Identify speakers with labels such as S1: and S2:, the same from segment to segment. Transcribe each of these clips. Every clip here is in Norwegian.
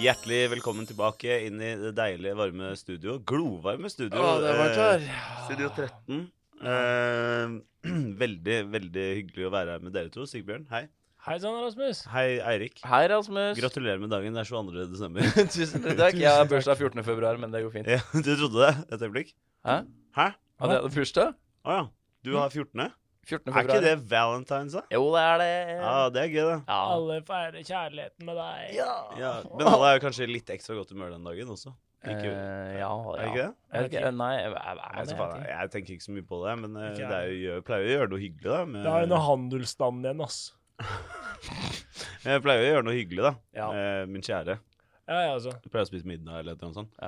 S1: Hjertelig velkommen tilbake inn i det deilige, varme studio. Glovarme studio.
S2: Å, det var
S1: eh,
S2: klar.
S1: Studio 13. Eh, veldig, veldig hyggelig å være her med dere to. Sigbjørn, hei.
S3: Hei sann, Rasmus.
S1: Hei, Eirik.
S2: Hei, Rasmus.
S1: Gratulerer med dagen. Det er 22. desember.
S2: Tusen takk. Jeg har bursdag 14. februar, men det går fint.
S1: Ja, du trodde det et øyeblikk?
S2: Hæ?
S1: Hæ?
S2: Hadde jeg hatt bursdag?
S1: Å ja. Du har 14.
S2: 14.
S1: Er
S2: februar.
S1: ikke det valentines, da?
S2: Jo, det er det.
S1: Ja, det er gøy, det.
S2: Ja.
S3: Alle feirer kjærligheten med deg.
S2: Ja.
S1: Ja, men alle er jo kanskje litt ekstra godt humør den dagen også. Ikke,
S2: Eh,
S1: er
S2: ja, ja.
S1: det ikke det?
S2: Jeg vet ikke, nei, jeg, jeg, jeg,
S1: Nei, så
S2: jeg,
S1: faen, jeg tenker ikke så mye på det, men eh,
S3: Ikke jeg.
S1: det er jo, jeg pleier jo å gjøre noe hyggelig, da.
S3: Det er jo
S1: Med,
S3: noe handelsstand igjen, ass.
S1: jeg pleier jo å gjøre noe hyggelig, da.
S2: Ja.
S1: Eh, Min kjære.
S3: Ja, altså. jeg også.
S1: Jeg pleier å spise middag eller noe sånt.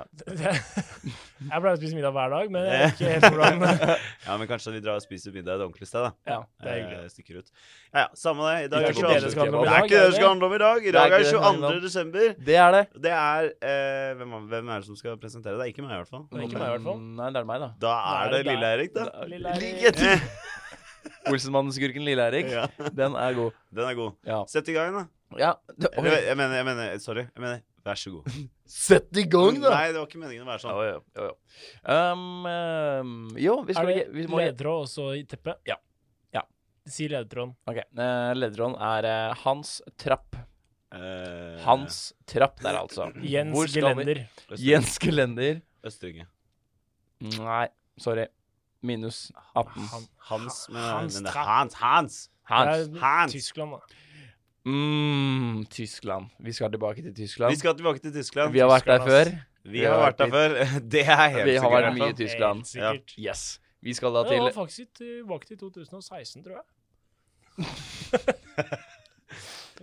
S3: Jeg pleier å spise middag hver dag, men jeg vet ikke helt hvordan det
S1: Ja, men kanskje vi drar og spiser middag et ordentlig sted, da.
S3: Ja, det
S1: Eh,
S3: er hyggelig.
S1: Stikker ut. Ja, ja, samme det. I dag
S3: Det er
S1: er
S3: ikke det det skal handle om i
S1: Det er
S3: dag,
S1: ikke det det
S3: er det?
S1: skal handle om i dag. I
S2: Det er
S1: dag er
S2: ikke det det handler
S1: 22.
S2: om.
S1: desember.
S2: det er det.
S1: Det er eh, hvem, er- hvem er det som skal presentere? Det er ikke meg, i hvert fall.
S3: Det er ikke meg, i hvert fall.
S2: Nei, det er meg, da.
S1: Da
S3: Da er
S1: er det
S3: det deg.
S1: Lille-Erik, da.
S3: Lille Erik.
S2: Like etter. Olsenmannen-skurken Lille-Erik.
S1: Ja,
S2: Den er god.
S1: den er god.
S2: Ja.
S1: Sett i gang, da.
S2: ja. det- oi.
S1: Eller, jeg mener, jeg mener, sorry. Jeg mener, vær så god.
S2: Sett i gang, da!
S1: Nei, det var ikke meningen å være sånn.
S2: Jo, jo, jo, jo. Um, ehm, jo, vi
S3: Er
S2: skal
S3: det
S2: vi må,
S3: ledetråd også i teppet?
S2: Ja. Ja.
S3: Si ledetråden.
S2: Ok, eh, Lederen er eh, Hans Trapp.
S1: Eh,
S2: Hans Trapp der, altså.
S3: Mm.
S2: Hvor
S3: Jens
S2: skal vi?
S3: Gelender.
S1: Østring-
S2: Jens Gelender.
S1: Østringe.
S2: Nei, sorry. Minus 18.
S3: Han-
S1: Hans, men,
S3: Hans
S1: men det er
S3: Trapp.
S1: Hans, Hans!
S2: Hans.
S3: Det er
S1: Hans.
S3: Tyskland, da.
S2: Mm, Tyskland. Vi skal tilbake til
S1: Vi
S2: Tyskland.
S1: skal tilbake til Tyskland.
S2: Vi har vært der
S3: Tyskland, ass.
S2: før.
S1: Vi har vært der før. Det er helt
S2: Vi har
S1: sikkert, i
S2: vært
S1: hvert
S2: mye
S1: fall.
S2: i Tyskland.
S3: Helt sikkert.
S2: Yes. Vi skal da
S3: Det
S2: til
S3: var faktisk tilbake til 2016, tror jeg.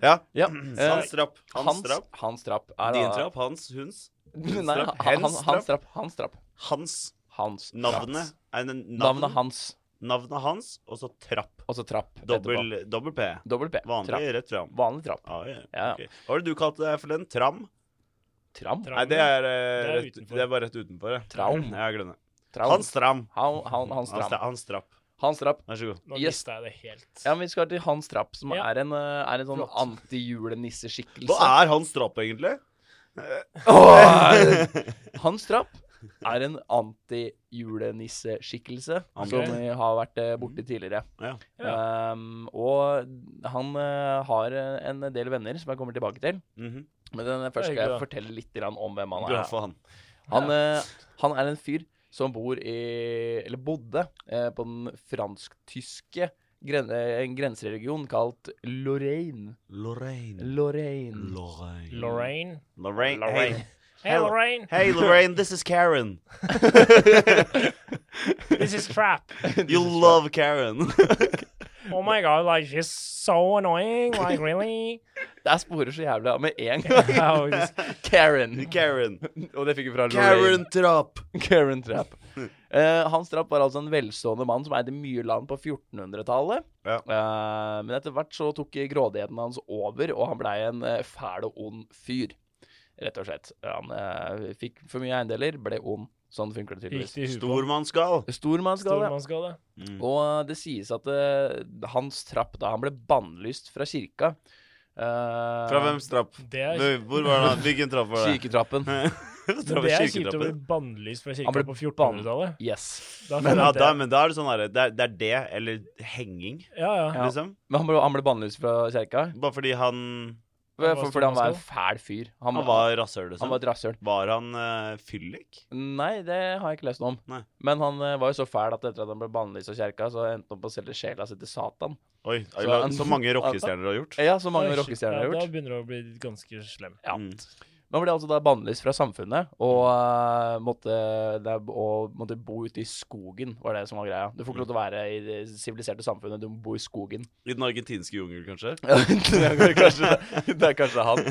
S1: Ja.
S2: ja, eh,
S1: Hans trapp. Hans
S2: Hans,
S1: trapp.
S2: Hans Trapp. er
S1: Din
S2: da-
S1: trapp. Hans. Huns. Hans
S2: Nei,
S1: trapp.
S2: han, han,
S1: Hens
S2: Hans Trapp. Hans Trapp.
S1: Hans.
S2: Hans
S1: Navnet.
S2: Trapp.
S1: Er det navn?
S2: Navnet hans,
S1: Navnet hans, og så trapp.
S2: og så Trapp. etterpå.
S1: Dobbel, dobbel P.
S2: Dobbel P. Trapp.
S1: Vanlig rett fram.
S2: Vanlig Trapp.
S1: Ah, ja.
S2: Ja.
S1: ok. Hva var det du kalte det for den? Tram?
S2: Tram?
S3: Tram.
S1: Nei, det er, eh,
S3: Det er
S1: rett,
S3: utenfor.
S1: det er bare rett utenfor. ja.
S2: Tram.
S1: Ja, glem det.
S2: Tram.
S1: Hans Tram.
S2: Han, han, hans
S1: Hans,
S2: Trapp.
S1: tra Hans Trapp.
S2: Hans Trapp.
S1: Vær så god.
S3: Nå
S2: Yes.
S3: mista jeg det helt.
S2: Ja, men vi skal til Hans Trapp, som
S3: Ja.
S2: er, en, eh, er en sånn
S3: Flott.
S2: anti-julenisseskikkelse.
S1: Hva er Hans Trapp, egentlig?
S2: Hans Trapp er en anti-julenisseskikkelse
S1: Ok.
S2: som vi har vært eh, borti tidligere.
S1: Ja.
S2: Um, og han eh, har eh, en del venner som jeg kommer tilbake til.
S1: Mhm.
S2: Men den eh, først skal jeg
S3: hyggelig,
S2: fortelle litt grann om hvem han
S1: Bra
S2: er.
S1: for han.
S2: Han, eh, han er en fyr som bor i Eller bodde eh, på den fransk-tyske gren eh, en grenseregion kalt Lorraine.
S1: Lorraine.
S2: Lorraine.
S1: Lorraine.
S3: Lorraine.
S1: Lorraine.
S2: Lorraine.
S3: Hey,
S1: Hello.
S3: Lorraine.
S1: Hey. hey, Lorraine, this is Karen.
S3: This is crap.
S1: You love Karen.
S3: Oh my god, like, she's so annoying. Like, really?
S2: Det er sporer så jævlig av med en gang.
S3: Ja, faktisk.
S2: Karen.
S1: Karen.
S2: Og det fikk vi fra
S1: Karen
S2: Lorraine.
S1: Trapp.
S2: Karen Trapp. Eh, Hans Trapp var altså en velstående mann som eide mye land på 1400-tallet.
S1: Ja.
S2: Eh, men etter hvert så tok grådigheten hans over, og han blei en eh, fæl og ond fyr. Rett og slett. Han eh, fikk for mye eiendeler, ble ond. Sånn funker det tydeligvis.
S3: Riktig hudpå.
S1: Stormannsgal.
S2: Stormannsgave.
S3: Stormannsgale.
S1: Mm.
S2: Og eh, det sies at eh, Hans Trapp, da han ble bannlyst fra kirka eh,
S1: Fra hvems trapp?
S3: Det er,
S1: Hvor hvor var det? han- Hvilken trapp var det?
S2: Kirketrappen.
S1: Trapp-
S3: det er kjipt å bli
S1: kirketrappen.
S3: bannlyst fra
S2: Han ble
S3: kirka på 1400-tallet.
S2: Yes.
S3: Da
S1: Men, ja,
S3: føler jeg at
S1: da,
S3: det-
S1: men da er det sånn herre det, er- det er det, eller henging,
S3: Ja, ja.
S2: Ja.
S1: liksom.
S2: Men han ble, han ble bannlyst fra kirka
S1: Bare fordi han,
S3: var
S2: for, fordi han var en
S3: stormannsgal.
S2: fæl fyr.
S1: han var rasshøl,
S2: Han var
S1: liksom.
S2: et rasshøl.
S1: Var han eh, fyllik?
S2: Nei, det har jeg ikke lest noe om.
S1: Nei.
S2: Men han eh, var jo så fæl at etter at han ble bannlyst av kjerka, så endte han på å selge sjela si til Satan.
S1: Oi,
S2: Så
S1: la-
S2: han-
S1: så mange rockestjerner du har gjort.
S2: Ja, så mange
S3: Oi, shit,
S2: rockestjerner har
S3: ja, Da
S2: gjort.
S3: begynner det å bli ganske slem.
S2: Ja.
S1: Mm.
S2: Men han ble altså da bannlyst fra samfunnet og, eh, måtte, det, er- og måtte bo ute i skogen, var det som var greia. Du får ikke lov til å være i det siviliserte samfunnet, du må bo i skogen.
S1: I den argentinske jungel, kanskje?
S2: Ja, det, er kanskje, det er kanskje han.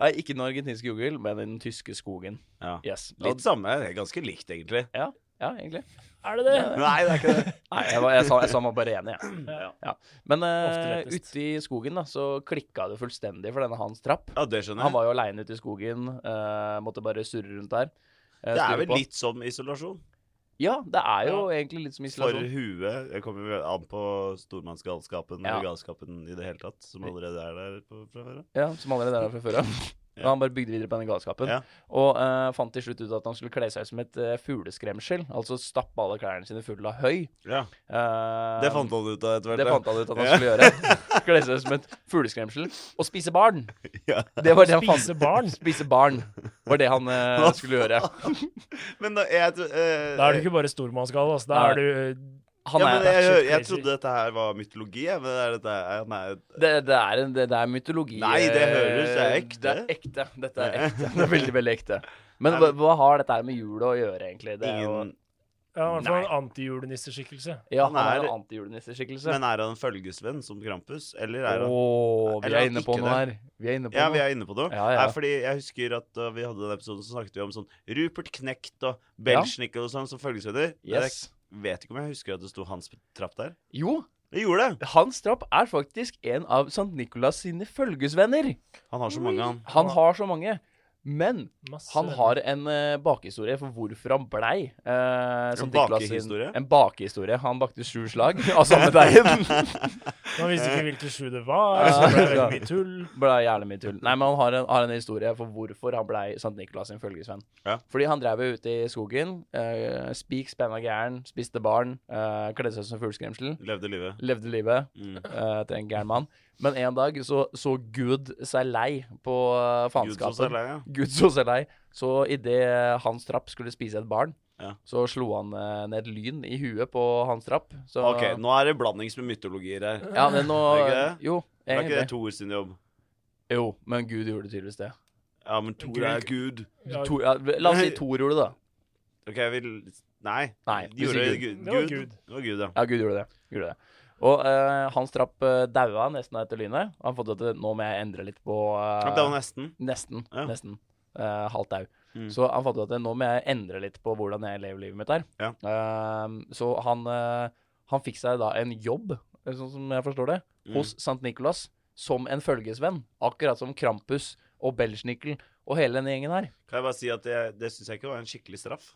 S2: Nei, ikke i den argentinske jungel, men i den tyske skogen.
S1: Ja.
S2: Yes.
S1: Litt samme. Det er ganske likt, egentlig.
S2: Ja, egentlig.
S3: Er det det?
S1: Nei, det er ikke det.
S2: Nei, jeg, var, jeg, sa, jeg sa meg bare enig, jeg.
S3: Ja.
S2: Men uh,
S3: Ofte lettest.
S2: ute i skogen da, så klikka det fullstendig for denne Hans Trapp.
S1: Ja, det skjønner
S2: Han
S1: jeg.
S2: var jo aleine ute i skogen, eh, måtte bare surre rundt der.
S1: Det
S2: eh, surre
S1: er vel
S2: på.
S1: litt som isolasjon.
S2: Ja, det er jo egentlig litt som
S1: For
S2: isolasjon.
S1: huet Det kommer jo an på stormannsgalskapen
S2: Ja.
S1: eller galskapen i det hele tatt, som allerede er der på, fra før av.
S2: Ja, som allerede er der fra før av.
S1: Ja.
S2: Men Han bare bygde videre på den galskapen.
S1: Ja.
S2: Og eh, fant til slutt ut at han skulle kle seg ut som et eh, fugleskremsel. Altså stappe alle klærne sine fulle av høy.
S1: Ja.
S2: Eh,
S1: Det fant han ut av etter hvert.
S2: det
S1: ja.
S2: fant han ut at han
S1: Ja.
S2: skulle gjøre. Kle seg ut som et fugleskremsel og spise barn.
S1: Ja.
S2: Det var det han fant
S3: Spise barn.
S2: Spise barn var det han eh,
S1: Hva
S2: skulle gjøre.
S1: Men da, jeg tror eh,
S3: Da er du ikke bare stormannsgal, altså. Da er du
S2: Han
S1: ja, men
S2: er,
S1: jeg, jeg,
S3: batshit
S1: jeg
S3: crazy.
S1: trodde dette her var mytologi. jeg, Men er dette her Nei.
S2: det, det, er en, det, det er mytologi.
S1: Nei, det høres- det er
S2: eh,
S1: ekte.
S2: Det er ekte. Dette er
S1: Ja.
S2: ekte. Det er veldig, veldig ekte. Men
S1: Nei,
S2: hva,
S1: men-
S2: hva har dette her med jula å gjøre, egentlig? Det er jo,
S1: Ingen,
S3: ja, i hvert fall
S2: Nei.
S3: en antijulenisseskikkelse.
S2: ja,
S1: Han
S2: han er
S1: er-
S2: en antijulenisseskikkelse.
S1: men er han en følgesvenn som Krampus, eller er han
S2: Åh, vi
S1: Eller
S2: er
S1: at
S2: inne på
S1: ikke
S2: noe her. Vi er inne på
S1: Ja, vi
S2: noe.
S1: er inne på det.
S2: Ja, ja.
S1: Nei, fordi jeg husker at uh, vi hadde den episoden så snakket vi om sånn Rupert Knekt og Belschnickel og sånn som følgesvenner.
S2: Yes.
S1: Jeg vet ikke om jeg husker at det sto Hans Trapp der.
S2: Jo,
S1: Det gjorde det!
S2: Hans Trapp er faktisk en av St. Nikolas sine følgesvenner.
S1: Han har så mange, han.
S2: Han har så mange. Men
S3: Masse.
S2: han har en eh, bakhistorie for hvorfor han blei eh, St. Nicholas sin-
S1: bakehistorie?
S2: En bakehistorie. Han bakte sju slag av samme deigen.
S3: Man visste ikke hvilke sju det var,
S2: Ja.
S3: så det ble veldig mye tull.
S2: Blei jævlig mye tull. Nei, men han har en, har en historie for hvorfor han blei St. Nikolas sin følgesvenn.
S1: Ja.
S2: Fordi han drev jo ute i skogen, eh, spik spenna gæren, spiste barn, eh, kledde seg som fugleskremsel,
S1: Levde livet.
S2: levde livet.
S1: Mm.
S2: eh, til en gæren mann. Men en dag så, så Gud seg lei på eh,
S1: Gud så
S2: faenskapen.
S1: seg lei, ja.
S2: Gud så seg lei. Så idet Hans Trapp skulle spise et barn,
S1: Ja.
S2: så slo han eh, ned lyn i huet på Hans Trapp. Så,
S1: OK, nå er det blandings med mytologier her.
S2: Ja, men nå
S1: Er det ikke det?
S2: Jo,
S1: Det er ikke det
S2: egentlig.
S1: Thor sin jobb.
S2: Jo, men Gud gjorde tydeligvis det.
S1: Ja, men Thor er Gud.
S3: Ja,
S2: Tor, ja, la oss si Tor gjorde det, da.
S1: OK, jeg vil Nei.
S2: Nei, vi
S1: Gjorde
S2: sier
S1: Gud.
S3: Det var Gud.
S1: Gud. Det var Gud, ja.
S2: Ja, Gud gjorde det. Gud gjorde det. Og eh, Hans Trapp eh, daua nesten etter lynet. Han fant ut at nå må jeg endre litt på eh,
S1: Ja, Det var nesten.
S2: Nesten.
S1: Ja.
S2: nesten Eh, halvt au.
S1: Mm.
S2: Så han fant ut at eh, nå må jeg endre litt på hvordan jeg lever livet mitt her.
S1: Ja.
S2: Ehm, så han, eh, han fikk seg da en jobb, sånn som jeg forstår det,
S1: Mm.
S2: hos St. Nicholas som en følgesvenn. Akkurat som Krampus og Belschnickel og hele denne gjengen her.
S1: Kan jeg bare si at jeg, det syns jeg ikke var en skikkelig straff.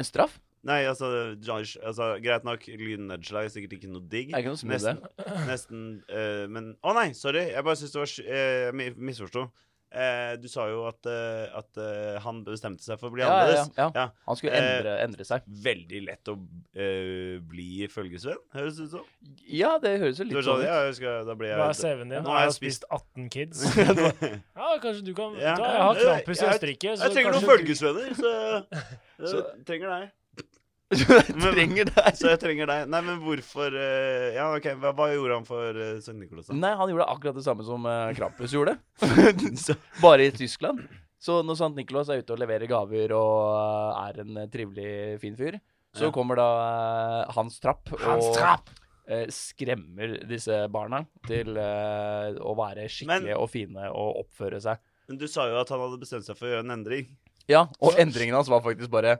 S2: En straff?
S1: Nei, altså, Josh, altså Greit nok, lynnedslag er sikkert ikke noe digg.
S2: Er ikke noe som
S1: nesten,
S2: det.
S1: nesten eh, Men Å nei, sorry. Jeg bare syns det var sj- eh, Jeg mi- misforsto. Eh, du sa jo at, eh, at eh, han bestemte seg for å bli
S2: Ja, ja,
S1: annerledes.
S2: ja, ja.
S1: Ja.
S2: Han skulle
S1: Eh,
S2: endre, endre seg.
S1: Veldig lett å eh, bli følgesvenn, høres det ut som.
S2: Ja, det høres jo
S1: Du
S2: litt
S1: er sånn,
S2: sånn ut.
S1: ja, jeg skal, da blir jeg
S3: Hva er CV-en din?
S1: Nå
S3: Nå har jeg spist 18 kids. Ja, kanskje du kan
S1: Ja.
S3: da, Jeg har Krampus i
S1: Jeg-
S3: Østerrike. så
S1: Jeg trenger noen
S3: kanskje du-
S1: følgesvenner, så jeg
S2: Så-
S1: trenger deg. Men-
S2: Trenger deg.
S1: Så jeg trenger deg. Nei, men hvorfor eh, Ja, OK, hva, hva gjorde han for uh, St. Nicholas, da?
S2: Nei, han gjorde akkurat det samme som eh, Krampus gjorde.
S1: Så-
S2: Bare i Tyskland. Så når St. Nicholas er ute og leverer gaver og eh, er en eh, trivelig, fin fyr, så
S1: Ja.
S2: kommer da eh, Hans Trapp og
S3: Hans Trapp!
S2: eh, skremmer disse barna til eh, å være skikkelige og fine og oppføre seg.
S1: Men du sa jo at han hadde bestemt seg for å gjøre en endring.
S2: Ja, og endringen hans var faktisk bare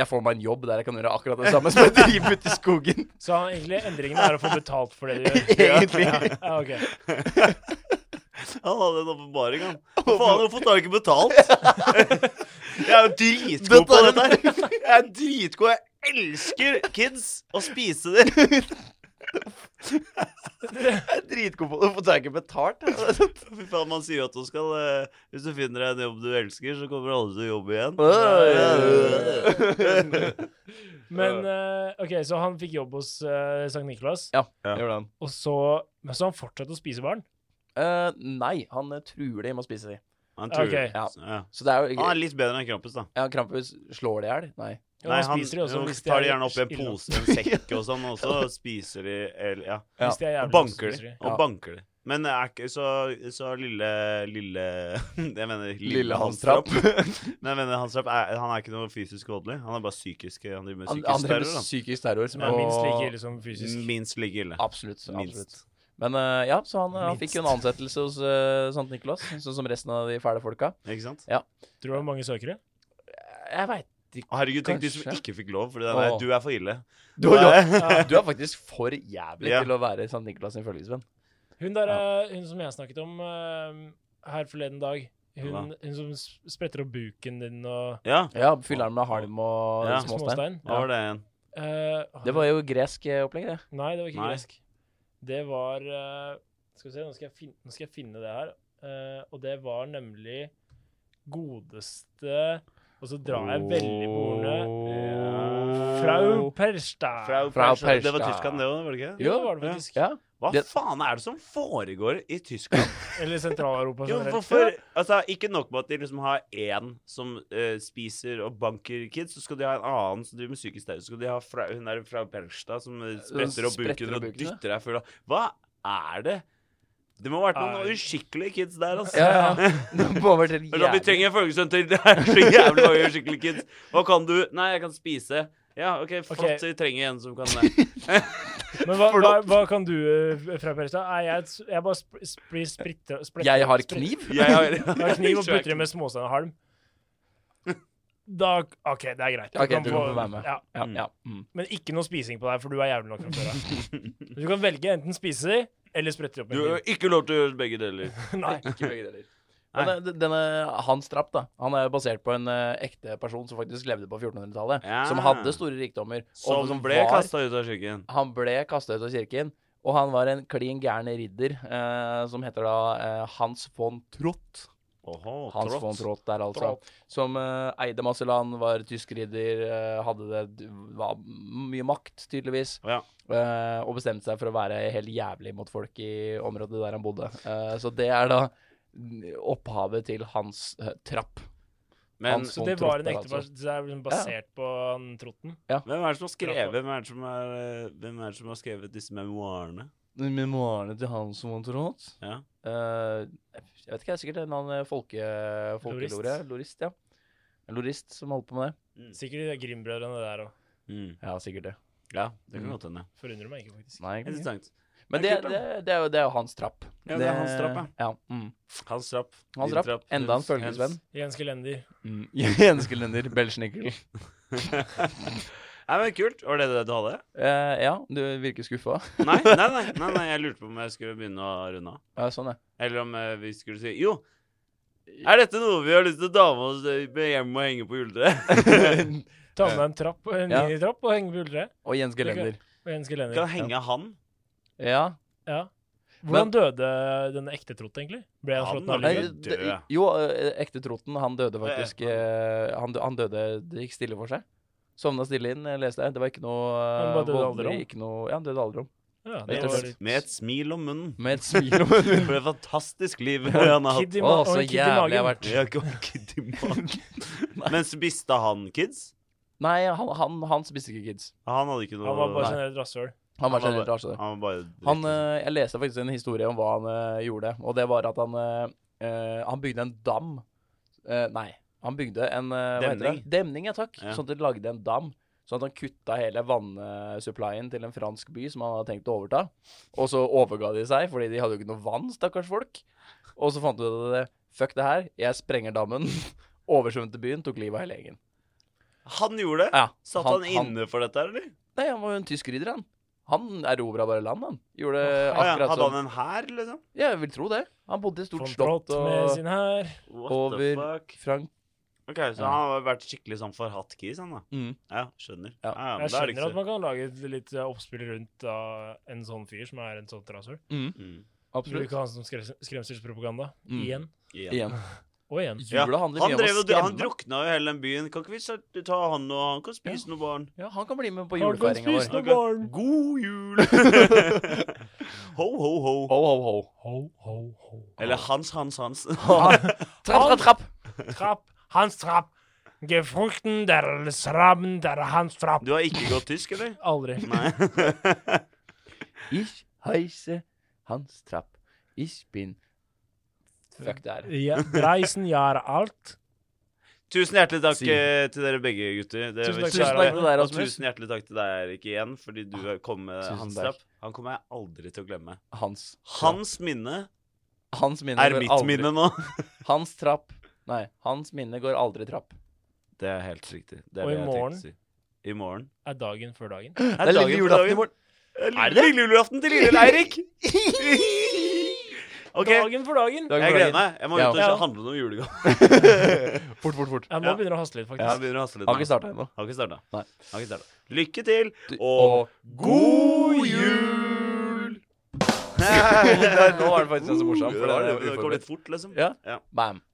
S2: jeg får meg en jobb der jeg kan gjøre akkurat det samme som jeg driver ute i skogen.
S3: Så han- egentlig endringen er å få betalt for det du gjør.
S2: Egentlig.
S3: Ja, ok.
S1: Han hadde en åpenbaring, han. Hva faen, hvorfor tar jeg ikke betalt? Jeg er jo dritgod på dette her. Jeg er dritgod. Jeg elsker kids og spise dem.
S2: Jeg er dritgod på det. Hvorfor tar jeg ikke betalt? altså?
S1: Fy faen, man sier jo at du skal eh, Hvis du finner deg en jobb du elsker, så kommer alle til å jobbe igjen.
S3: Men eh, ok, så han fikk jobb hos uh, Sankt Nikolas,
S2: Ja, gjorde han.
S3: og så Men så han fortsatte å spise barn?
S2: Eh, nei, han eh, truer dem med å spise dem.
S1: Han tror
S3: Ok.
S1: ja.
S2: Ja. Så det er jo
S1: Han er litt bedre enn Krampus, da.
S2: Ja, Krampus slår det i hjel? Nei.
S3: Ja, han spiser de også
S1: han
S3: hvis de
S1: tar
S3: er
S1: de gjerne opp i en
S3: ille.
S1: pose, en sekk og sånn, og så spiser de eller, Ja.
S2: Ja,
S3: Hvis de er
S1: Og
S3: jævlig
S1: banker
S3: spiser
S1: de.
S3: de.
S1: Og
S2: Ja.
S1: banker de. Men er ikke så, så lille Lille Jeg mener
S2: Lille Hans
S1: Hans
S2: Trapp.
S1: Trapp. Nei, jeg mener Hans Trapp er, han er ikke noe fysisk voldelig. Han er bare psykisk Han driver med
S2: Han,
S1: psykisk
S2: han drev
S1: terror.
S2: med
S1: da.
S2: psykisk terror. Som
S3: Som er minst
S2: og-
S3: like ille som fysisk.
S1: Minst like ille.
S2: Absolutt. absolutt.
S1: Minst.
S2: Men eh, ja, så han, han fikk jo en
S3: Minst.
S2: ansettelse hos eh, St. Nicholas, sånn som resten av de fæle folka. Eh,
S1: Ikke sant?
S3: Tror du det var mange søkere?
S2: Jeg veit
S1: Å, Herregud, tenk de som
S2: Kanskje.
S1: ikke fikk lov. Fordi det er,
S2: Åh.
S1: du er for ille.
S2: du, er-
S3: Ja.
S2: du er faktisk for jævlig
S1: Ja.
S2: til å være St. Nicholas sin følgesvenn.
S3: Hun der, eh, hun som jeg snakket om eh, her forleden dag, Hun, hun som s- spretter opp buken din og
S1: Ja,
S2: Ja, fyller den med halm og
S1: Ja.
S2: småstein.
S3: småstein.
S1: hva var det igjen?
S3: Eh, åh,
S2: Det var jo gresk eh, opplegg, det.
S3: Nei, det var ikke
S1: Nei.
S3: gresk. Det var eh, Skal vi se, nå skal jeg finne, nå skal jeg finne det her. Eh, og det var nemlig godeste Og så drar jeg veldig på ordene. Frau Persta.
S2: Frau
S1: Persta. Det var
S2: Persta.
S1: Tyskland, det òg, var det ikke?
S3: Jo, det var det faktisk.
S2: Ja.
S1: Hva
S2: Det-
S1: faen er det som foregår i Tyskland?
S3: Eller Sentral-Europa
S1: Jo,
S3: generelt.
S1: hvorfor? Altså, ikke nok med at de liksom har én som eh, spiser og banker kids, så skal de ha en annen som driver med psykisk terror, så skal de ha fra, hun der fra Perstad som eh, spretter opp
S2: spretter
S1: buken
S2: opp
S1: og
S2: buken, ja.
S1: dytter deg full av Hva er det? Det må ha vært noen
S3: Nei.
S1: uskikkelige kids der, altså.
S2: Ja, ja. Det må ha vært helt
S1: Eller, da, vi
S2: jævlig.
S1: trenger en følgesønn til. Det er så jævlig mange uskikkelige kids. Hva kan du? Nei, jeg kan spise. Ja, OK, flott. Vi trenger en som kan eh, det.
S3: Men hva, hva, hva kan du, eh, Frau Persta? Nei, jeg, s- jeg bare sp sp blir splitter, splitter
S2: Jeg har
S3: splitter-
S2: kniv.
S1: Jeg har,
S3: Jeg har kniv og putter det med småstein og halm. Da OK, det er greit.
S2: Ok, du kan få være med.
S3: Ja.
S2: Ja, ja. Mm.
S3: Men ikke noe spising på deg, for du er jævlig nok fra før av. Du kan velge enten spise de, eller sprette de opp
S1: Du eh,
S3: med
S1: har
S3: kniv.
S1: ikke lov til å gjøre begge deler.
S3: Nei.
S2: Men den- denne Hans Trapp da, han er jo basert på en eh, ekte person som faktisk levde på 1400-tallet,
S1: Ja.
S2: som hadde store rikdommer. og
S1: Som ble
S2: var-
S1: kasta ut av kirken.
S2: Han ble kasta ut av kirken, og han var en klin gæren ridder eh, som heter da eh, Hans von Trott.
S1: Oho,
S2: Hans von
S1: tross.
S2: Trott der, altså. Som eh, eide masse land, var tysk ridder, eh, hadde det d- var mye makt, tydeligvis.
S1: Ja.
S2: Eh, og bestemte seg for å være helt jævlig mot folk i området der han bodde. Eh, så det er da opphavet til hans eh, trapp.
S1: Men
S2: Hans-
S3: Så det var en
S2: Trotter,
S3: ekte
S2: altså.
S3: person? Det er liksom basert på han Trotten?
S1: Hvem er det som har skrevet Hvem er det som, er, eh, hvem er det som har skrevet disse memoarene?
S2: Memoarene til Hans von Trott?
S1: Ja.
S2: Eh, jeg vet ikke, det er sikkert en eller annen folke, folkelore.
S3: Lorist.
S2: Lorist, ja. En lorist som holdt på med det.
S3: Sikkert de Grimm-brødrene der òg.
S1: Mm.
S2: Ja, sikkert det.
S1: ja, det
S2: Mm.
S1: kan godt hende.
S3: Forundrer meg ikke, faktisk.
S2: Nei, egentlig ikke.
S1: Interessant.
S2: Men det,
S1: Det er kult,
S2: det, det, er jo, det er jo hans trapp.
S1: Ja, det er hans trapp,
S2: ja. mm.
S1: Hans Trapp.
S2: Hans
S1: Din
S2: Trapp. Enda en
S1: Hens-
S2: følgesvenn.
S3: Jens Gelender.
S2: Mm. Jenskelender, Belsnickel.
S1: Nei, men Kult. Var det det du hadde?
S2: Eh, ja, du virker skuffa.
S1: Nei, nei, nei, nei, nei, jeg lurte på om jeg skulle begynne å runde av.
S2: Ja, sånn, ja.
S1: Eller om eh, vi skulle si Jo, er dette noe vi har lyst til å ta med oss eh, hjem og henge på juletreet?
S3: Ta med deg en trapp, en
S2: Ja.
S3: minitrapp og henge på juletreet.
S2: Og Jens Gelender.
S3: Og Jens
S1: kan
S3: Gelender.
S1: henge han.
S2: Ja.
S3: Ja.
S2: Men-
S3: Hvordan dønde den ekte Trott, egentlig? Ble han
S1: Han
S3: slått ned
S1: er
S3: av
S2: Eh,
S3: lyden?
S1: jo
S2: det-
S1: død.
S2: Jo, eh, ekte Troten, han døde faktisk
S1: Ja,
S2: eh, han, dø- han døde Det gikk stille for seg. Sovna stille inn, eh, leste jeg. Det var ikke noe eh,
S3: Han bare døde
S2: voldelig,
S3: alderdom.
S2: ikke noe, Ja, han døde alderdom.
S3: Ja, det
S2: Rett og
S3: var
S2: slett.
S3: litt...
S1: Med et smil om munnen.
S2: Med et smil om
S1: For et fantastisk liv han har hatt.
S3: Kid i ma-
S2: Å,
S3: og
S2: så
S3: en kid
S2: jævlig
S3: i
S2: jeg har
S3: magen.
S2: vært.
S1: Jeg har ikke vært kid i magen. Mens mista han kids?
S2: Nei, han, han, han spiste ikke kids.
S1: Han hadde ikke noe
S3: Han var bare sånn-
S1: Nei.
S3: generelt rasshøl.
S2: Han var
S1: Han var
S2: generelt rasende.
S1: Han var bare
S2: Han, eh, jeg leste faktisk en historie om hva han eh, gjorde, og det var at han eh, eh, Han bygde en dam. Eh, nei, han bygde en eh, hva heter
S1: Demning.
S2: det? Demning, ja takk.
S1: Ja.
S2: Sånn at det lagde en dam. Sånn at han kutta hele vannsupplyen til en fransk by som han hadde tenkt å overta. Og så overga de seg, fordi de hadde jo ikke noe vann, stakkars folk. Og så fant de ut at fuck det her, jeg sprenger dammen. Oversvømte byen, tok livet av hele gjengen.
S1: han gjorde det?
S2: Ja,
S1: Satt han, inne for dette, eller?
S2: Nei, han var jo en tysk ridder, han. Han erobra bare land, han. Gjorde
S1: Ah, ja.
S2: akkurat sånn.
S1: Hadde
S2: som
S1: han en hær, liksom?
S2: Ja, jeg vil tro det. Han bodde i et stort
S3: Von
S2: slott
S3: Trott med
S2: og
S3: sin hær.
S1: What the
S2: Over-
S1: fuck?
S2: Frank
S1: Ok, Så
S2: Ja.
S1: han har vært skikkelig sånn forhatt kis, han da?
S2: mm.
S1: Ja, skjønner.
S2: Ja.
S1: ja, men da
S3: Jeg
S1: er det
S3: skjønner
S1: ikke
S3: at man kan lage et litt eh, oppspill rundt av en sånn fyr som er en sånn rasshøl.
S1: så- Mm.
S2: Absolutt.
S3: Bruke han som skre- sånn skremselspropaganda.
S2: Mm.
S3: Igjen
S1: Igjen.
S2: Igjen.
S3: og igjen.
S1: Ja,
S2: Jula handler
S1: Han,
S2: mye om
S1: drev,
S2: å
S1: og- han
S2: skremme.
S1: drukna jo hele den byen. Kan ikke vi så- ta han og han kan spise noen barn?
S2: Ja, han kan bli med på
S3: Han kan
S2: julefeiringa vår.
S3: spise noe
S1: Ok.
S3: barn.
S1: God jul! ho, ho, ho.
S2: Ho, ho, ho.
S3: Ho, ho, ho.
S1: Eller Hans, Hans, Hans.
S2: Trapp, trapp, trapp.
S3: Trapp, Hans Trapp. Gefrukten der Srabben der Hans Trapp.
S1: Du har ikke gått tysk, eller?
S3: Aldri.
S1: Nei.
S2: Ich heise Hans Trapp. Ich bin Fuck det her.
S3: Ja, Reisen gjør alt.
S1: Tusen hjertelig takk
S2: Si.
S1: eh, til dere begge, gutter. Dere
S3: Tusen
S1: var
S3: takk til
S1: kjære.
S3: deg,
S1: Og
S2: Rasmus.
S1: tusen hjertelig takk til deg, Erik, igjen, fordi du kom med
S2: tusen
S1: Hans
S2: takk.
S1: Trapp. Han kommer jeg aldri til å glemme.
S2: Hans.
S1: Hans minne
S2: Hans minne
S1: er
S2: går
S1: mitt
S2: aldri-
S1: minne nå.
S2: Hans trapp. Nei, hans minne går aldri trapp.
S1: Det er helt riktig. Det er
S3: Og
S1: det
S3: i
S1: jeg
S3: morgen?
S1: tenkte å si. I morgen
S3: Er dagen før dagen.
S2: Det er lille
S1: dagen på dagen.
S2: julaften i morgen.
S1: Er det lille julaften til lille Eirik? Ok,
S3: Dagen for dagen.
S2: Dagen
S1: jeg
S2: for
S1: gleder
S2: dagen.
S1: meg. Jeg må ut
S2: Ja.
S1: og
S3: Ja.
S1: kjø- handle noen julegaver.
S2: Fort, fort, fort.
S3: Jeg må
S1: Ja.
S3: begynne å haste litt,
S1: Jeg
S3: faktisk.
S1: begynner å haste litt.
S2: Har ikke
S1: nå.
S2: starta ennå.
S1: Har ikke starta.
S2: Nei.
S1: Har ikke starta. Lykke til,
S2: Du-
S1: og god jul! Nå
S2: var det faktisk ganske morsomt, for det
S1: Det,
S2: var
S1: var-
S2: litt
S1: det kom litt fort, liksom.
S2: Ja.
S1: Ja.
S2: Bam.